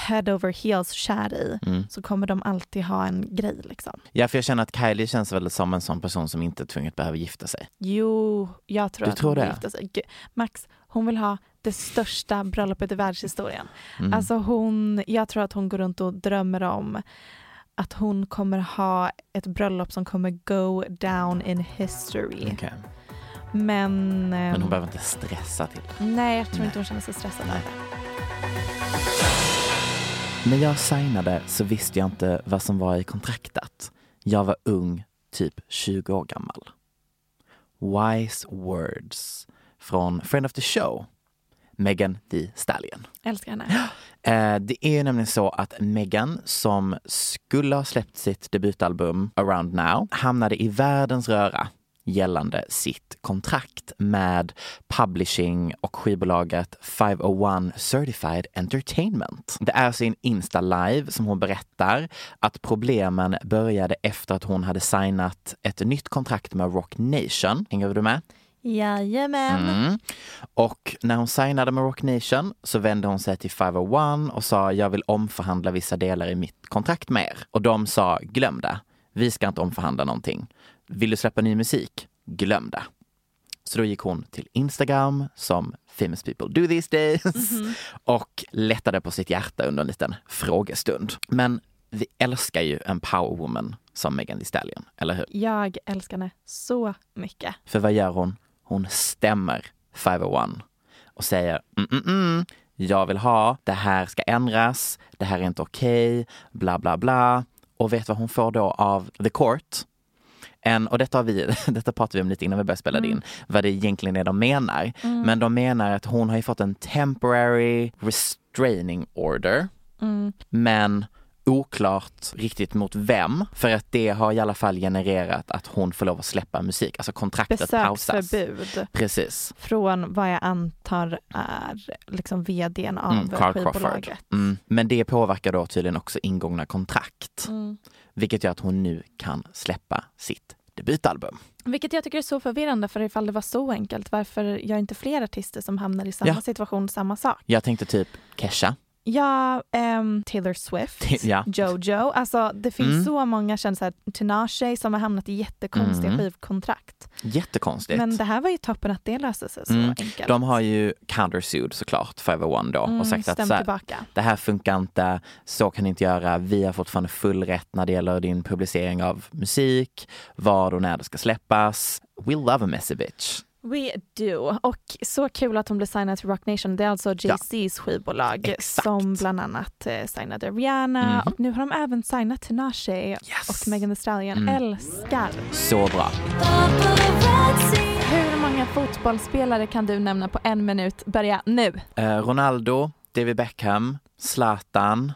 A: head over heels kär i
B: Mm.
A: så kommer de alltid ha en grej liksom.
B: Ja, för jag känner att Kylie känns väl som en sån person som inte tvunget behöver gifta sig.
A: Jo, jag tror
B: Du
A: att
B: tror
A: hon vill
B: det?
A: gifta sig. Gud, Max, hon vill ha det största bröllopet i världshistorien.
B: Mm.
A: Alltså hon, jag tror att hon går runt och drömmer om att hon kommer ha ett bröllop som kommer go down in history.
B: Okej.
A: Men,
B: Men hon
A: ehm,
B: behöver inte stressa till det.
A: nej, jag tror
B: Nej.
A: inte hon känner sig stressad.
B: Nej. När jag signade så visste jag inte vad som var i kontraktet. Jag var ung, typ 20 år gammal. Wise Words från Friend of the Show, Megan Thee Stallion.
A: Älskar henne.
B: Eh, det är ju nämligen så att Megan, som skulle ha släppt sitt debutalbum Around Now, hamnade i världens röra gällande sitt kontrakt med publishing och skivbolaget 501 Certified Entertainment. Det är alltså i en Insta live som hon berättar att problemen började efter att hon hade signat ett nytt kontrakt med Rock Nation. Hänger du med?
A: Jajamän.
B: Mm. Och när hon signade med Rock Nation så vände hon sig till 501 och sa jag vill omförhandla vissa delar i mitt kontrakt med er. Och de sa glöm det. Vi ska inte omförhandla någonting. Vill du släppa ny musik? Glöm det. Så då gick hon till Instagram som famous people do these days och lättade på sitt hjärta under en liten frågestund. Men vi älskar ju en powerwoman som Megan Thee Stallion, eller hur?
A: Jag älskar henne så mycket.
B: För vad gör hon? Hon stämmer 501 och säger mm, mm, mm, jag vill ha, det här ska ändras, det här är inte okej, bla bla bla. Och vet vad hon får då av The Court? En, och detta, har vi, detta pratade vi om lite innan vi började spela in, vad det egentligen är de menar. Men de menar att hon har ju fått en temporary restraining order
A: Mm.
B: men oklart riktigt mot vem. För att det har i alla fall genererat att hon får lov att släppa musik. Alltså kontraktet pausas.
A: Besöksförbud
B: Precis.
A: från vad jag antar är liksom vdn av
B: Mm, Carl Crawford.
A: skivbolaget.
B: Mm. Men det påverkar då tydligen också ingångna kontrakt.
A: Mm.
B: Vilket gör att hon nu kan släppa sitt debutalbum.
A: Vilket jag tycker är så förvirrande för ifall det var så enkelt, varför gör inte fler artister som hamnar i samma
B: Ja.
A: situation samma sak?
B: Jag tänkte typ Kesha.
A: Ja, ehm, Taylor Swift,
B: Ja.
A: Jojo, alltså det finns
B: Mm.
A: så många kändisar, Tinashe som har hamnat i jättekonstiga
B: Mm.
A: skivkontrakt.
B: Jättekonstigt.
A: Men det här var ju toppen att det löste sig så
B: Mm.
A: enkelt.
B: De har ju countersued såklart 501 då
A: Mm,
B: och sagt att
A: stämt
B: så här,
A: tillbaka.
B: det här funkar inte, så kan ni inte göra, vi har fortfarande full rätt när det gäller din publicering av musik, var och när det ska släppas. We love a messy bitch.
A: We do. Och så kul att hon blev signad till Rock Nation. Det är alltså Jay-Z's skivbolag
B: Exakt.
A: som bland annat eh, signade Rihanna
B: Mhm.
A: och nu har de även signat Tinashe och Megan Thee Stallion.
B: Mm.
A: Älskar!
B: Så bra.
A: Hur många fotbollsspelare kan du nämna på en minut? Börja nu.
B: Eh, Ronaldo, David Beckham, Zlatan.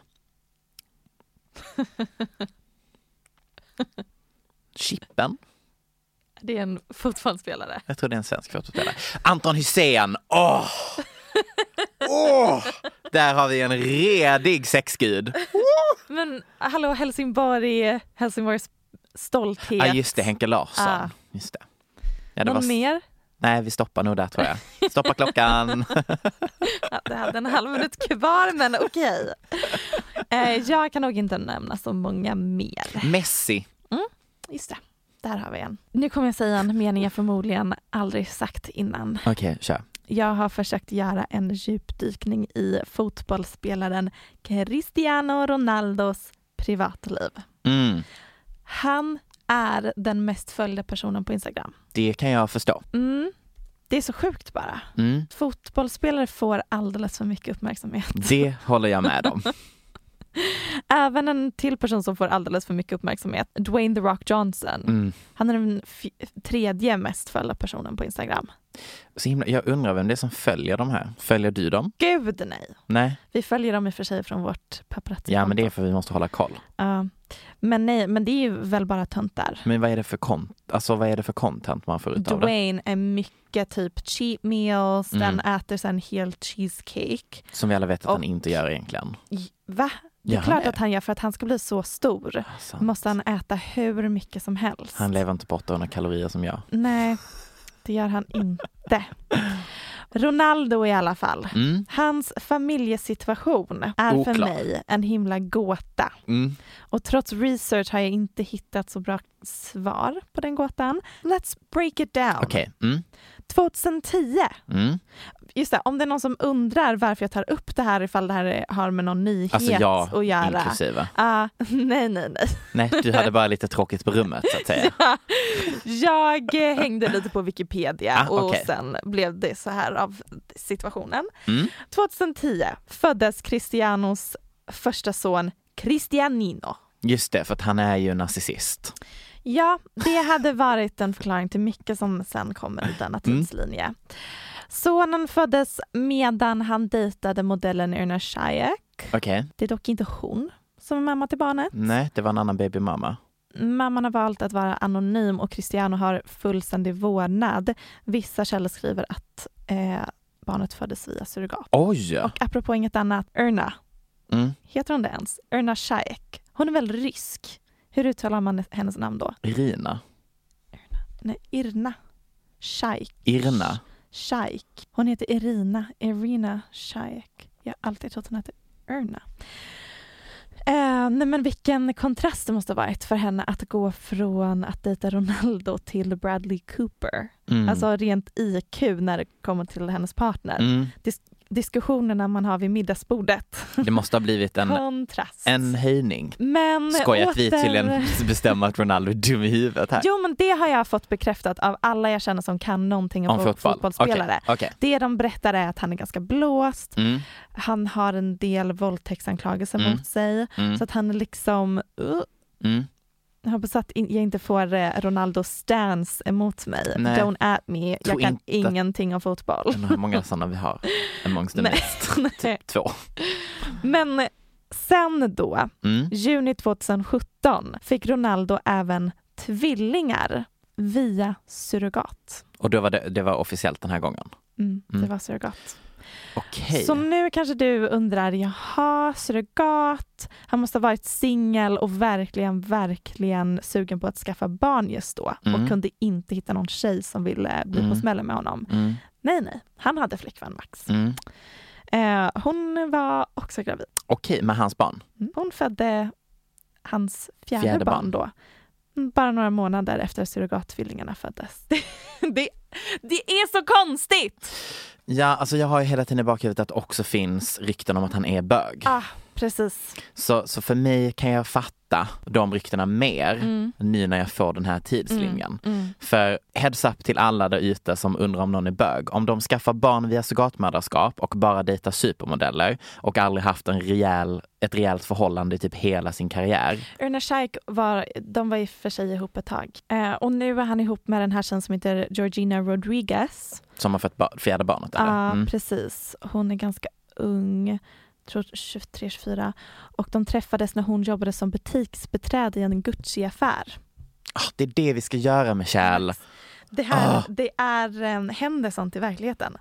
B: Chippen?
A: Det är en fotbollsspelare.
B: Jag tror det är en svensk fotbollsspelare. Anton Hysén! Åh! Åh! Där har vi en redig sexgud.
A: Men hallå Helsingborg, Helsingborgs stolthet.
B: Ja, ah, just det. Henke Larsson.
A: Ah.
B: Just det. Ja, det
A: Någon
B: var s-
A: mer?
B: Nej, vi stoppar nog där tror jag. Stoppa klockan.
A: Ja, det hade en halv minut kvar men okej. Eh, jag kan nog inte nämna så många mer.
B: Messi.
A: Just det, där har vi en. Nu kommer jag säga en mening jag förmodligen aldrig sagt innan.
B: Okej, kör.
A: Jag har försökt göra en djupdykning i fotbollsspelaren Cristiano Ronaldos privatliv.
B: Mm,
A: Han är den mest följda personen på Instagram.
B: det kan jag förstå.
A: Mm. Det är så sjukt bara.
B: Mm,
A: Fotbollsspelare får alldeles för mycket uppmärksamhet.
B: det håller jag med om.
A: Även en till person som får alldeles för mycket uppmärksamhet, Dwayne The Rock Johnson.
B: Mm.
A: Han är den f- tredje mest följda personen på Instagram.
B: Så himla, jag undrar vem det är som följer de här. Följer du dem?
A: Gud nej!
B: Nej.
A: Vi följer dem i och för sig från vårt paparazzi
B: Ja, men det är för vi måste hålla koll.
A: men nej, men det är ju väl bara töntar.
B: Men vad är det för content, alltså, vad är det för content man får ut av typ det?
A: Dwayne är mycket typ cheat meals,
B: Mm.
A: den äter sen hel cheesecake.
B: Som vi alla vet att han
A: Och-
B: inte gör egentligen.
A: J- Va? Det är
B: Gör han
A: klart
B: det?
A: att han gör för att han ska bli så stor.
B: Alltså,
A: Måste han äta hur mycket som helst?
B: han lever inte på 800 kalorier som jag.
A: Nej, det gör han inte. Ronaldo i alla fall.
B: Mm,
A: Hans familjesituation är
B: Oklar.
A: för mig en himla gåta.
B: mm.
A: Och trots research har jag inte hittat så bra svar på den gåtan. Let's break it down.
B: Okej. Mm,
A: 2010.
B: mm.
A: Just det, om det är någon som undrar varför jag tar upp det här ifall det här är- har med någon nyhet
B: Alltså
A: att
B: jag
A: göra.
B: inklusive.
A: Ah, nej, nej, nej.
B: Nej, du hade bara lite tråkigt på rummet så att säga.
A: Jag eh, hängde lite på Wikipedia
B: Ah,
A: och
B: okej.
A: sen blev det så här av situationen.
B: Mm.
A: 2010 föddes Cristianos första son Cristianino.
B: Just det, för att han är ju narcissist.
A: Ja, det hade varit en förklaring till mycket som sen kommer i denna
B: Mm.
A: tidslinje. Sonen föddes medan han dejtade modellen Erna Shayek.
B: Okej.
A: Det är dock inte hon som är mamma till barnet.
B: Nej, det var en annan babymamma.
A: Mamman har valt att vara anonym och Cristiano har fullständig vårdnad. Vissa källor skriver att eh, barnet föddes via surrogat.
B: Oj!
A: Och apropå inget annat, Erna,
B: Mm.
A: heter hon det ens? Erna Shayek. Hon är väl rysk? Hur uttalar man hennes namn då?
B: Irina.
A: Nej, Irna Shayk.
B: Irna.
A: Shayk. Hon heter Irina. Irina Shayk. Jag har alltid trott hon heter Erna. Eh, nej men vilken kontrast det måste ha varit för henne att gå från att dejta Ronaldo till Bradley Cooper.
B: Mm.
A: Alltså rent IQ när det kommer till hennes partner.
B: Mm.
A: Diskussionerna man har vid middagsbordet.
B: Det måste ha blivit en,
A: kontrast.
B: en höjning.
A: men
B: Skoj att vi
A: åter-
B: tydligen bestämmer att Ronaldo är dum i huvudet här.
A: Jo men det har jag fått bekräftat av alla jag känner som kan någonting om, fot- fotbollsspelare.
B: Okej. okej.
A: Det de berättar är att han är ganska blåst,
B: Mm.
A: han har en del våldtäktsanklagelser
B: Mm.
A: mot sig,
B: Mm.
A: så att han är liksom, uh,
B: Mm.
A: jag hoppas att in, jag inte får eh, Ronaldo stance emot mig.
B: Nej.
A: Don't at me, jag
B: Tror
A: kan
B: inte- Mm.
A: ingenting om fotboll.
B: Undrar hur många sådana vi har. Amongst the
A: Nej.
B: mest.
A: Nej.
B: Typ Två.
A: Men sen då,
B: Mm.
A: juni 2017, fick Ronaldo även tvillingar via surrogat.
B: Och då var det, det var officiellt den här gången.
A: Mm, Det
B: Mm.
A: var surrogat.
B: Okej.
A: Så nu kanske du undrar, jaha, surrogat, han måste ha varit singel och verkligen, verkligen sugen på att skaffa barn just då
B: Mm.
A: och kunde inte hitta någon tjej som ville bli på
B: Mm.
A: smällen med honom.
B: Mm.
A: Nej, nej, han hade flickvän Max.
B: Mm.
A: Eh, hon var också gravid.
B: Okej, med hans barn.
A: Hon födde hans fjärde,
B: Mm. Fjärde
A: barn
B: barn.
A: då. Bara några månader efter surrogattvillingarna föddes. det, det är så konstigt!
B: Ja, alltså jag har ju hela tiden i bakhuvudet att också finns rykten om att han är bög.
A: Ah, precis.
B: Så, så för mig kan jag fatta de ryktena mer
A: Mm.
B: nu när jag får den här tidslinjen. För heads up till alla där ute som undrar om någon är bög. Om de skaffar barn via surrogatmödraskap och bara dejtar supermodeller och aldrig haft en rejäl, ett rejält förhållande i typ hela sin karriär.
A: Erna Shayk var, de var i och för sig ihop ett tag. Eh, och nu är han ihop med den här tjejen som heter Georgina Rodriguez.
B: Som har fött bar- fjärde barnet
A: Ja,
B: eller? Mm.
A: precis. Hon är ganska ung, tror 23, 24. Och de träffades när hon jobbade som butiksbiträde i en Gucci-affär.
B: Ah, det är det vi ska göra Michelle.
A: Det här
B: Ah.
A: det är, eh, händer sånt i verkligheten.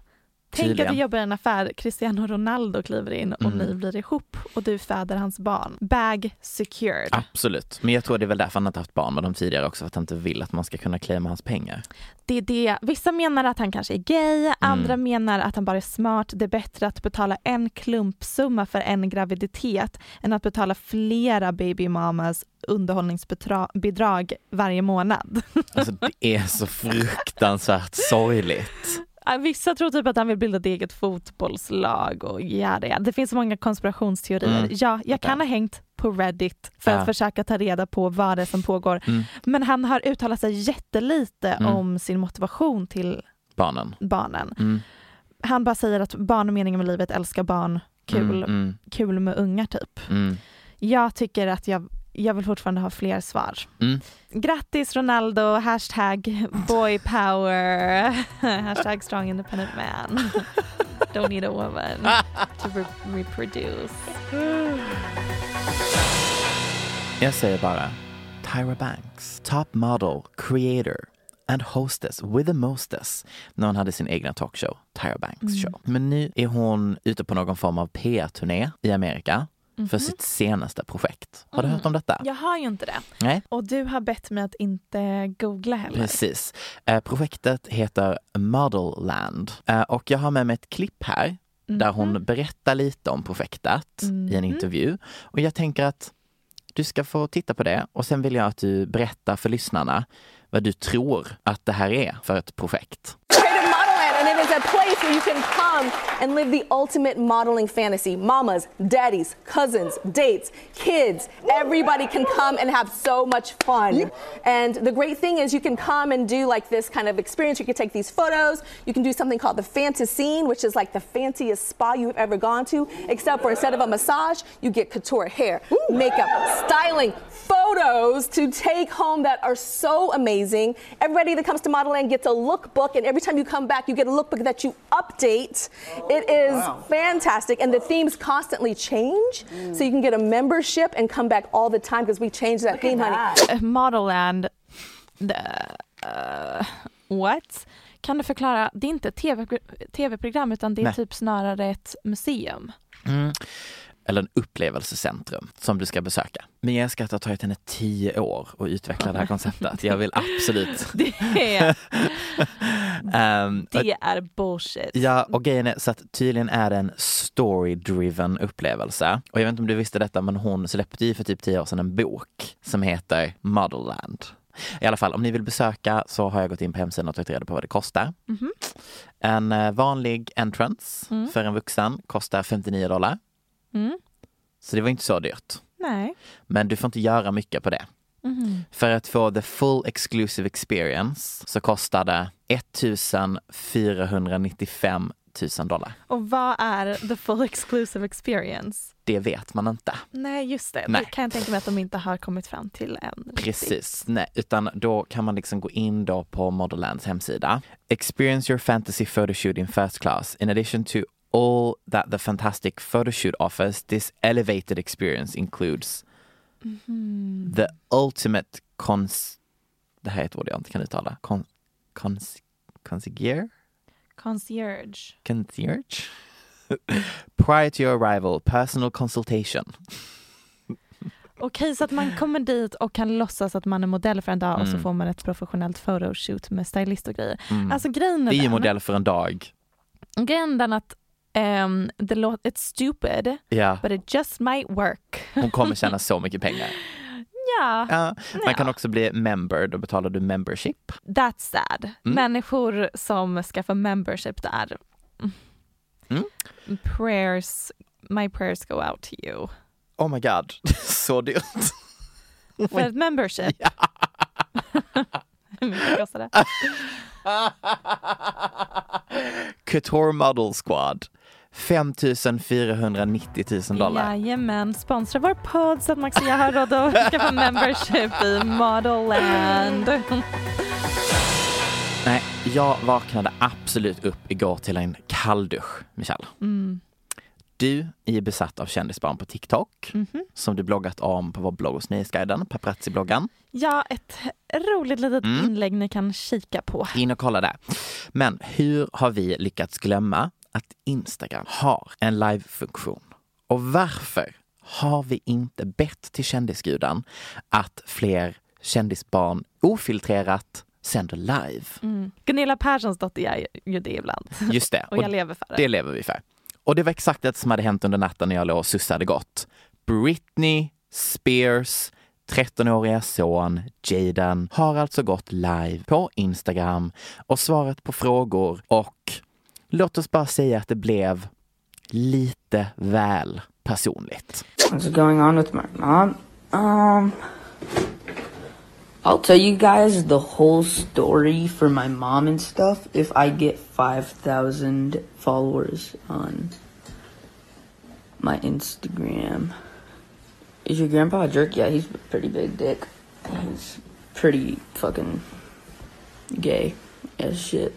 A: Tänk att
B: Tydligen.
A: du jobbar i en affär, Cristiano Ronaldo kliver in och
B: Mm.
A: ni blir ihop och du föder hans barn. Bag secured.
B: Ah. Absolut. Men jag tror det är väl därför han inte haft barn med dem tidigare också. För att han inte vill att man ska kunna claima hans pengar.
A: det är det. Vissa menar att han kanske är gay,
B: Mm.
A: andra menar att han bara är smart. Det är bättre att betala en klumpsumma för en graviditet än att betala flera baby mamas underhållningsbidrag varje månad.
B: Alltså det är så fruktansvärt sorgligt.
A: Ja, Vissa tror typ att han vill bilda ett eget fotbollslag och yada yada. Det finns så många konspirationsteorier.
B: Mm.
A: Ja, jag kan ha hängt på Reddit för att
B: Ja.
A: försöka ta reda på vad det är som pågår.
B: Mm.
A: Men han har uttalat sig jättelite
B: Mm.
A: om sin motivation till
B: Barnen.
A: barnen.
B: Mm.
A: han bara säger att barn och meningen med livet älskar barn, kul,
B: Mm, mm,
A: kul med ungar typ.
B: mm.
A: Jag tycker att jag, jag vill fortfarande ha fler svar.
B: Mm.
A: Grattis Ronaldo, hashtag boypower, hashtag strong independent man. Don't need a woman
B: Ah.
A: to re- reproduce.
B: Jag säger bara Tyra Banks, top model, creator and hostess with a mostess när hon hade sin egna talkshow, Tyra Banks show. Men nu är hon ute på någon form av PR-turné i Amerika för
A: Mm-hmm.
B: sitt senaste projekt. Har du hört om detta?
A: Jag har ju inte det.
B: Nej.
A: Och du har bett mig att inte googla heller.
B: Precis. Eh, projektet heter Model Land eh, och jag har med mig ett klipp här där hon berättar lite om projektet i en intervju. Och jag tänker att du ska få titta på det och sen vill jag att du berättar för lyssnarna vad du tror att det här är för ett projekt.
G: Creative Model Land, and it is a place where you can come and live the ultimate modeling fantasy. Mamas, daddies, cousins, dates, kids, everybody can come and have so much fun. And the great thing is you can come and do like this kind of experience. You can take these photos. You can do something called the Fantasine, which is like the fanciest spa you've ever gone to, except for instead of a massage, you get couture hair, makeup, styling, photos photos to take home that are so amazing. Everybody that comes to Model Land gets a lookbook, and every time you come back, you get a lookbook that you update. it is fantastic, and the themes constantly change, so you can get a membership and come back all the time because we change that theme, honey.
A: Eh, Model and... The, eh, what? Kan du förklara? Det är inte ett TV, tv-program utan det är
B: Nej.
A: typ snarare ett museum.
B: Eller en upplevelsecentrum som du ska besöka. Mia Skatt har tagit henne tio år att utveckla det här konceptet. Jag vill absolut...
A: Det är,
B: Ehm,
A: det är bullshit.
B: Ja, och grejen är så att tydligen är det en story-driven upplevelse. Och jag vet inte om du visste detta, men hon släppte ju för typ tio år sedan en bok som heter Motherland. I alla fall, om ni vill besöka så har jag gått in på hemsidan och tagit reda på vad det kostar. En eh, vanlig entrance för en vuxen kostar 59 dollar.
A: Mm.
B: Så det var inte så dyrt.
A: Nej.
B: Men du får inte göra mycket på det.
A: Mhm.
B: För att få the full exclusive experience så kostar det 1495 000 dollar.
A: Och vad är the full exclusive experience?
B: Det vet man inte.
A: Nej, just det.
B: Nej.
A: Det kan jag tänka mig att de inte har kommit fram till än.
B: Precis, nej, utan då kan man liksom gå in då på Modellands hemsida. Experience your fantasy photoshoot in first class. In addition to all that the fantastic photoshoot offers, this elevated experience includes the ultimate cons... Det här är ett ord jag inte kan uttala. Con, cons, consigliere?
A: Concierge.
B: Concierge? Prior to your arrival, personal consultation.
A: Okej, så att man kommer dit och kan låtsas att man är modell för en dag och
B: Mm.
A: så får man ett professionellt photoshoot med stylist och grejer. Alltså grejen är
B: Det är ju
A: den,
B: modell för en dag.
A: grejen är den att ehm, det låter, it's stupid
B: Ja,
A: but it just might work.
B: hon kommer tjäna så mycket pengar.
A: Ja,
B: Ja, man kan också bli member, då betalar du membership.
A: that's sad. Människor som skaffar membership där.
B: Mm.
A: Prayers, my prayers go out to you.
B: Oh my god, så dyrt.
A: För ett membership. Hur mycket kostar det?
B: Couture Model Squad, 5 490 000 dollar.
A: Jajamän, sponsra vår podd så att Max och jag har råd att skaffa membership i Modelland.
B: Nej, jag vaknade absolut upp igår till en kalldusch, Michelle. Du är besatt av kändisbarn på TikTok, som du bloggat om på vår blogg hos Nyhetsguiden, paparazzi-bloggen.
A: Ja, ett roligt litet
B: Mm.
A: inlägg ni kan kika på.
B: In och kolla där. Men hur har vi lyckats glömma att Instagram har en live-funktion? Och varför har vi inte bett till kändisgudan att fler kändisbarn ofiltrerat sänder live?
A: Mm. Gunilla Perssons dotter gör ju det ibland.
B: Just det.
A: Och jag lever för det.
B: Det lever vi för. Och det var exakt det som hade hänt under natten när jag låg och sussade gott. Britney Spears 13-åriga son Jaden har alltså gått live på Instagram och svarat på frågor och låt oss bara säga att det blev lite väl personligt.
F: What's going on with my mom? Um, I'll tell you guys the whole story for my mom and stuff if I get 5,000 followers on my Instagram. Is your grandpa a jerk? Yeah, he's a pretty big dick. He's pretty fucking gay as shit.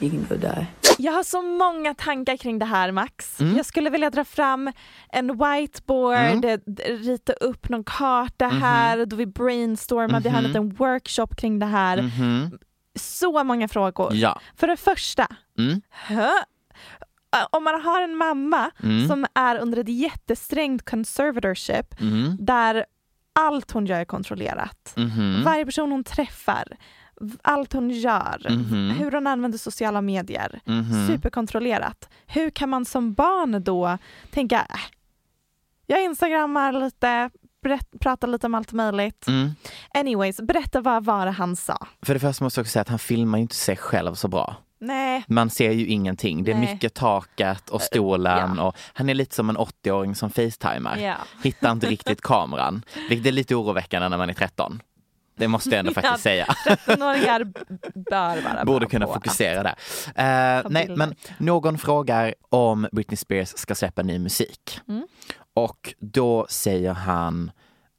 F: You can go die.
A: Jag har så många tankar kring det här Max. Jag skulle vilja dra fram en whiteboard, eh, d- rita upp någon karta här, då vi brainstormar, vi har en liten workshop kring det här. Så många frågor.
B: Ja.
A: För det första,
B: Mm.
A: hö? Ä, om man har en mamma som är under ett jättesträngt conservatorship
B: mm,
A: där allt hon gör är kontrollerat.
B: Mm.
A: Varje person hon träffar, v- allt hon gör, v-
B: Mhm.
A: hur hon använder sociala medier. Superkontrollerat. Hur kan man som barn då tänka, äh, jag instagrammar lite, berätt, pratar lite om allt möjligt.
B: Mm.
A: Anyways, berätta vad var det han sa.
B: För det första måste jag också säga att han filmar ju inte sig själv så bra.
A: Nej,
B: Man ser ju ingenting. Det är
A: Nej.
B: mycket taket och stolen och han är lite som en 80-åring som facetimar.
A: Ja.
B: Hittar inte riktigt kameran, vilket är lite oroväckande när man är 13. Det måste jag ändå
A: Ja.
B: faktiskt säga.
A: 13-åringar bör vara
B: Borde
A: bra
B: kunna
A: på alltså. att-
B: fokusera där. Eh,
A: Ta
B: nej,
A: bilder.
B: men någon frågar om
A: Mm.
B: Britney Spears ska släppa ny musik. Och då säger han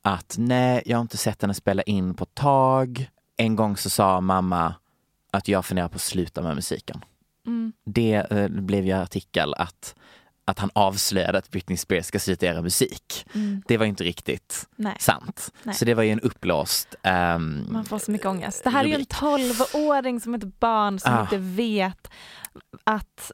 B: att nej, jag har inte sett henne spela in på ett tag. En gång så sa mamma att jag funderar på att sluta med musiken.
A: Mm.
B: Det eh, blev ju en artikel att, att han avslöjade att Britney Spears ska sluta göra musik.
A: Mm.
B: Det var ju inte riktigt
A: Nej.
B: sant.
A: Nej.
B: Så det var ju en uppblåst... ehm,
A: Man får så mycket ångest. Det här är ju en
B: rubrik.
A: 12-åring som är ett barn som
B: Ah.
A: inte vet att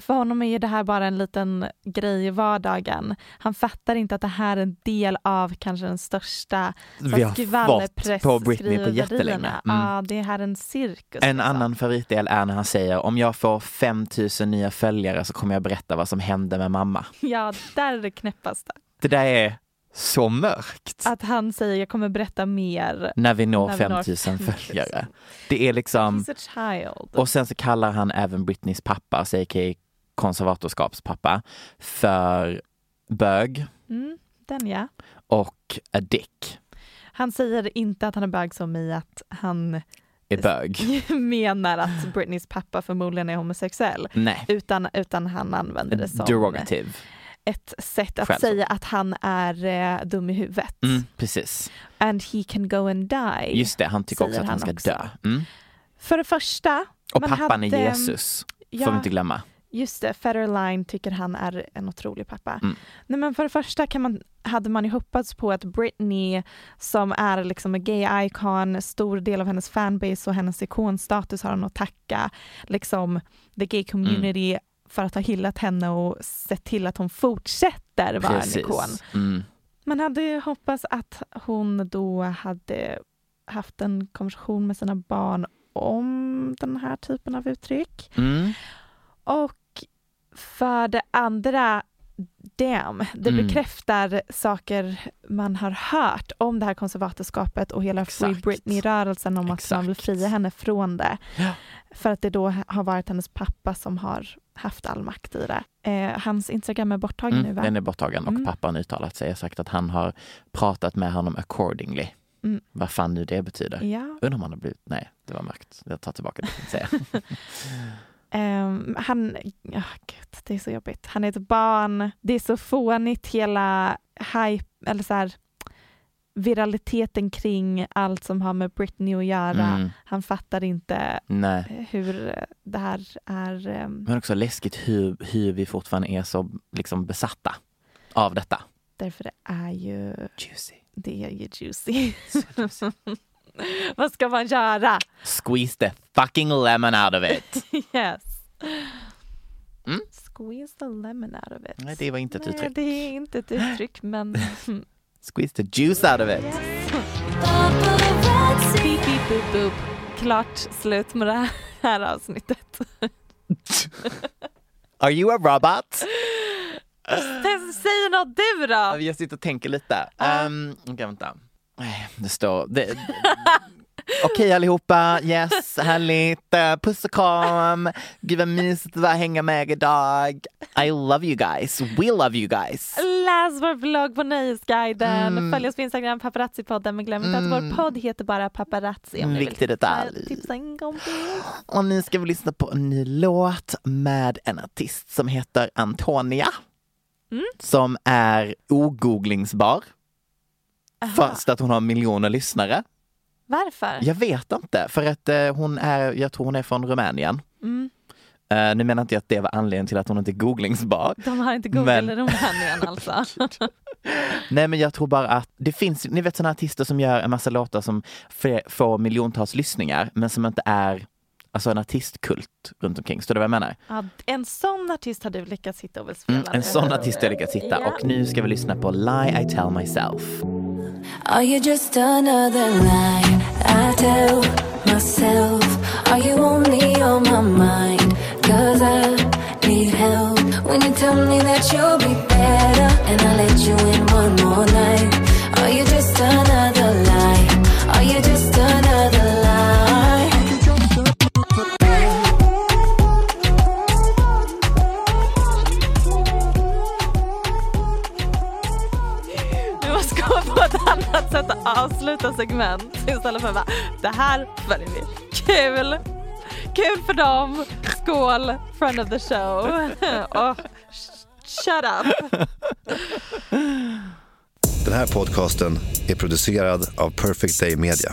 A: för honom är ju det här bara en liten grej i vardagen. Han fattar inte att det här är en del av kanske den största så
B: Vi har
A: skvallerpress-
B: fått på Britney på jättelänge.
A: skriverierna.
B: Mm.
A: Ja, det är här en cirkus.
B: En
A: liksom.
B: annan favoritdel är när han säger om jag får 5000 nya följare så kommer jag berätta vad som hände med mamma.
A: Ja, där är det knäppast.
B: Det där är så mörkt.
A: Att han säger jag kommer berätta mer.
B: När vi når
A: När vi når
B: 5000 följare.
A: 5000.
B: Det är liksom,
A: He's a child.
B: och sen så kallar han även Britneys pappa, alltså a.k.a. konservatorskapspappa, för bög
A: Mm, den ja.
B: och a dick
A: Han säger inte att han är bög som i att han
B: är bög.
A: menar att Britneys pappa förmodligen är homosexuell.
B: Nej,
A: Utan, utan han använder
B: Mm,
A: det som
B: derogative.
A: ett sätt att
B: Skällsord.
A: säga att han är eh, dum i huvudet.
B: Mm, precis,
A: And he can go and die.
B: just det, han tycker också
A: Säger
B: att han ska
A: han också.
B: dö. Mm.
A: För det första,
B: Och
A: man
B: pappan är
A: hade-
B: Jesus, får vi
A: ja,
B: inte glömma.
A: just det, Federline tycker han är en otrolig pappa.
B: Mm.
A: Nej men för det första kan man, hade man ju hoppats på att Britney som är liksom en gay icon, stor del av hennes fanbase och hennes ikonstatus har hon att tacka liksom the gay community för att ha hyllat henne och sett till att hon fortsätter vara en ikon.
B: Precis. Mm.
A: Man hade ju hoppats att hon då hade haft en konversation med sina barn om den här typen av uttryck.
B: Mm.
A: Och för det andra, damn, det
B: Mm.
A: bekräftar saker man har hört om det här konservatorskapet och hela Free
B: Exakt.
A: Britney-rörelsen om att man vill
B: Exakt.
A: fria henne från det.
B: Ja.
A: För att det då har varit hennes pappa som har haft all makt i det. Eh, hans Instagram är borttagen nu
B: Mm,
A: va?
B: den är borttagen och
A: Mm.
B: pappan uttalat sig och sagt att han har pratat med honom accordingly.
A: Mm.
B: Vad fan nu det betyder.
A: Ja.
B: Undrar om han har blivit... Nej, det var mörkt. Jag tar tillbaka det jag tänkte säga.
A: Ehm, han, ja gud, det är så jobbigt. Han är ett barn. Det är så fånigt hela hype, eller så här, viraliteten kring allt som har med Britney att göra.
B: Mm,
A: Han fattar inte
B: nej.
A: Eh. hur det här är. ehm,
B: Men också läskigt hur, hur vi fortfarande är så liksom besatta av detta.
A: Därför det är ju,
B: Juicy.
A: det är ju juicy. Vad ska man göra?
B: Squeeze the fucking lemon out of it.
A: Yes.
B: Mm.
A: Squeeze the lemon out of it.
B: Nej, det var inte ett
A: Nej,
B: uttryck.
A: det är inte ett uttryck, men
B: Squeeze the juice out of it.
A: Beep, beep, boop, boop. Klart slut med det här avsnittet.
B: Are you a robot?
A: Säg något du
B: Ja,
A: då!
B: Jag sitter och tänker lite.
A: Ah.
B: Um, Okej, vänta. Nej, Det står... Det... Okej allihopa, yes, härligt. Eh, Puss och kram. Gud vad mysigt det var att hänga med er idag. I love you guys. We love you guys.
A: Läs vår blogg på Nöjesguiden.
B: Mm.
A: Följ oss på Instagram, Paparazzi-podden. Men glöm inte att vår podd heter bara Paparazzi. Om ni
B: Viktig
A: vill
B: Mm, detalj.
A: tipsa en kompis.
B: Och nu ska vi lyssna på en ny låt med en artist som heter Antonia. Som är ogooglingsbar. Fast att hon har miljoner lyssnare.
A: Varför?
B: Jag vet inte, för att eh, hon är, jag tror hon är från Rumänien. Eh, nu menar inte jag att det var anledningen till att hon inte är googlingsbar.
A: De har inte
B: Men-
A: Google i Rumänien alltså.
B: Nej men jag tror bara att det finns, ni vet sådana artister som gör en massa låtar som f- får miljontals lyssningar men som inte är alltså en artistkult runt omkring. Står det vad jag menar?
A: ja, en sån artist har du lyckats hitta och vill spela.
B: Mm, en
A: nu.
B: sån artist har jag lyckats hitta
A: Ja.
B: och nu ska vi lyssna på Lie I Tell Myself.
H: Are you just another lie I tell myself? Are you only on my mind? Cause I need help when you tell me that you'll be better and I let you in one more night. Are you just another lie? Are you just another lie?
A: Vi måste komma på ett annat sätt att avsluta segment istället för bara det här följer vi. Kul! Kul för dem! Skål! Friend of the show! Och sh- shut up!
I: Den här podcasten är producerad av Perfect Day Media.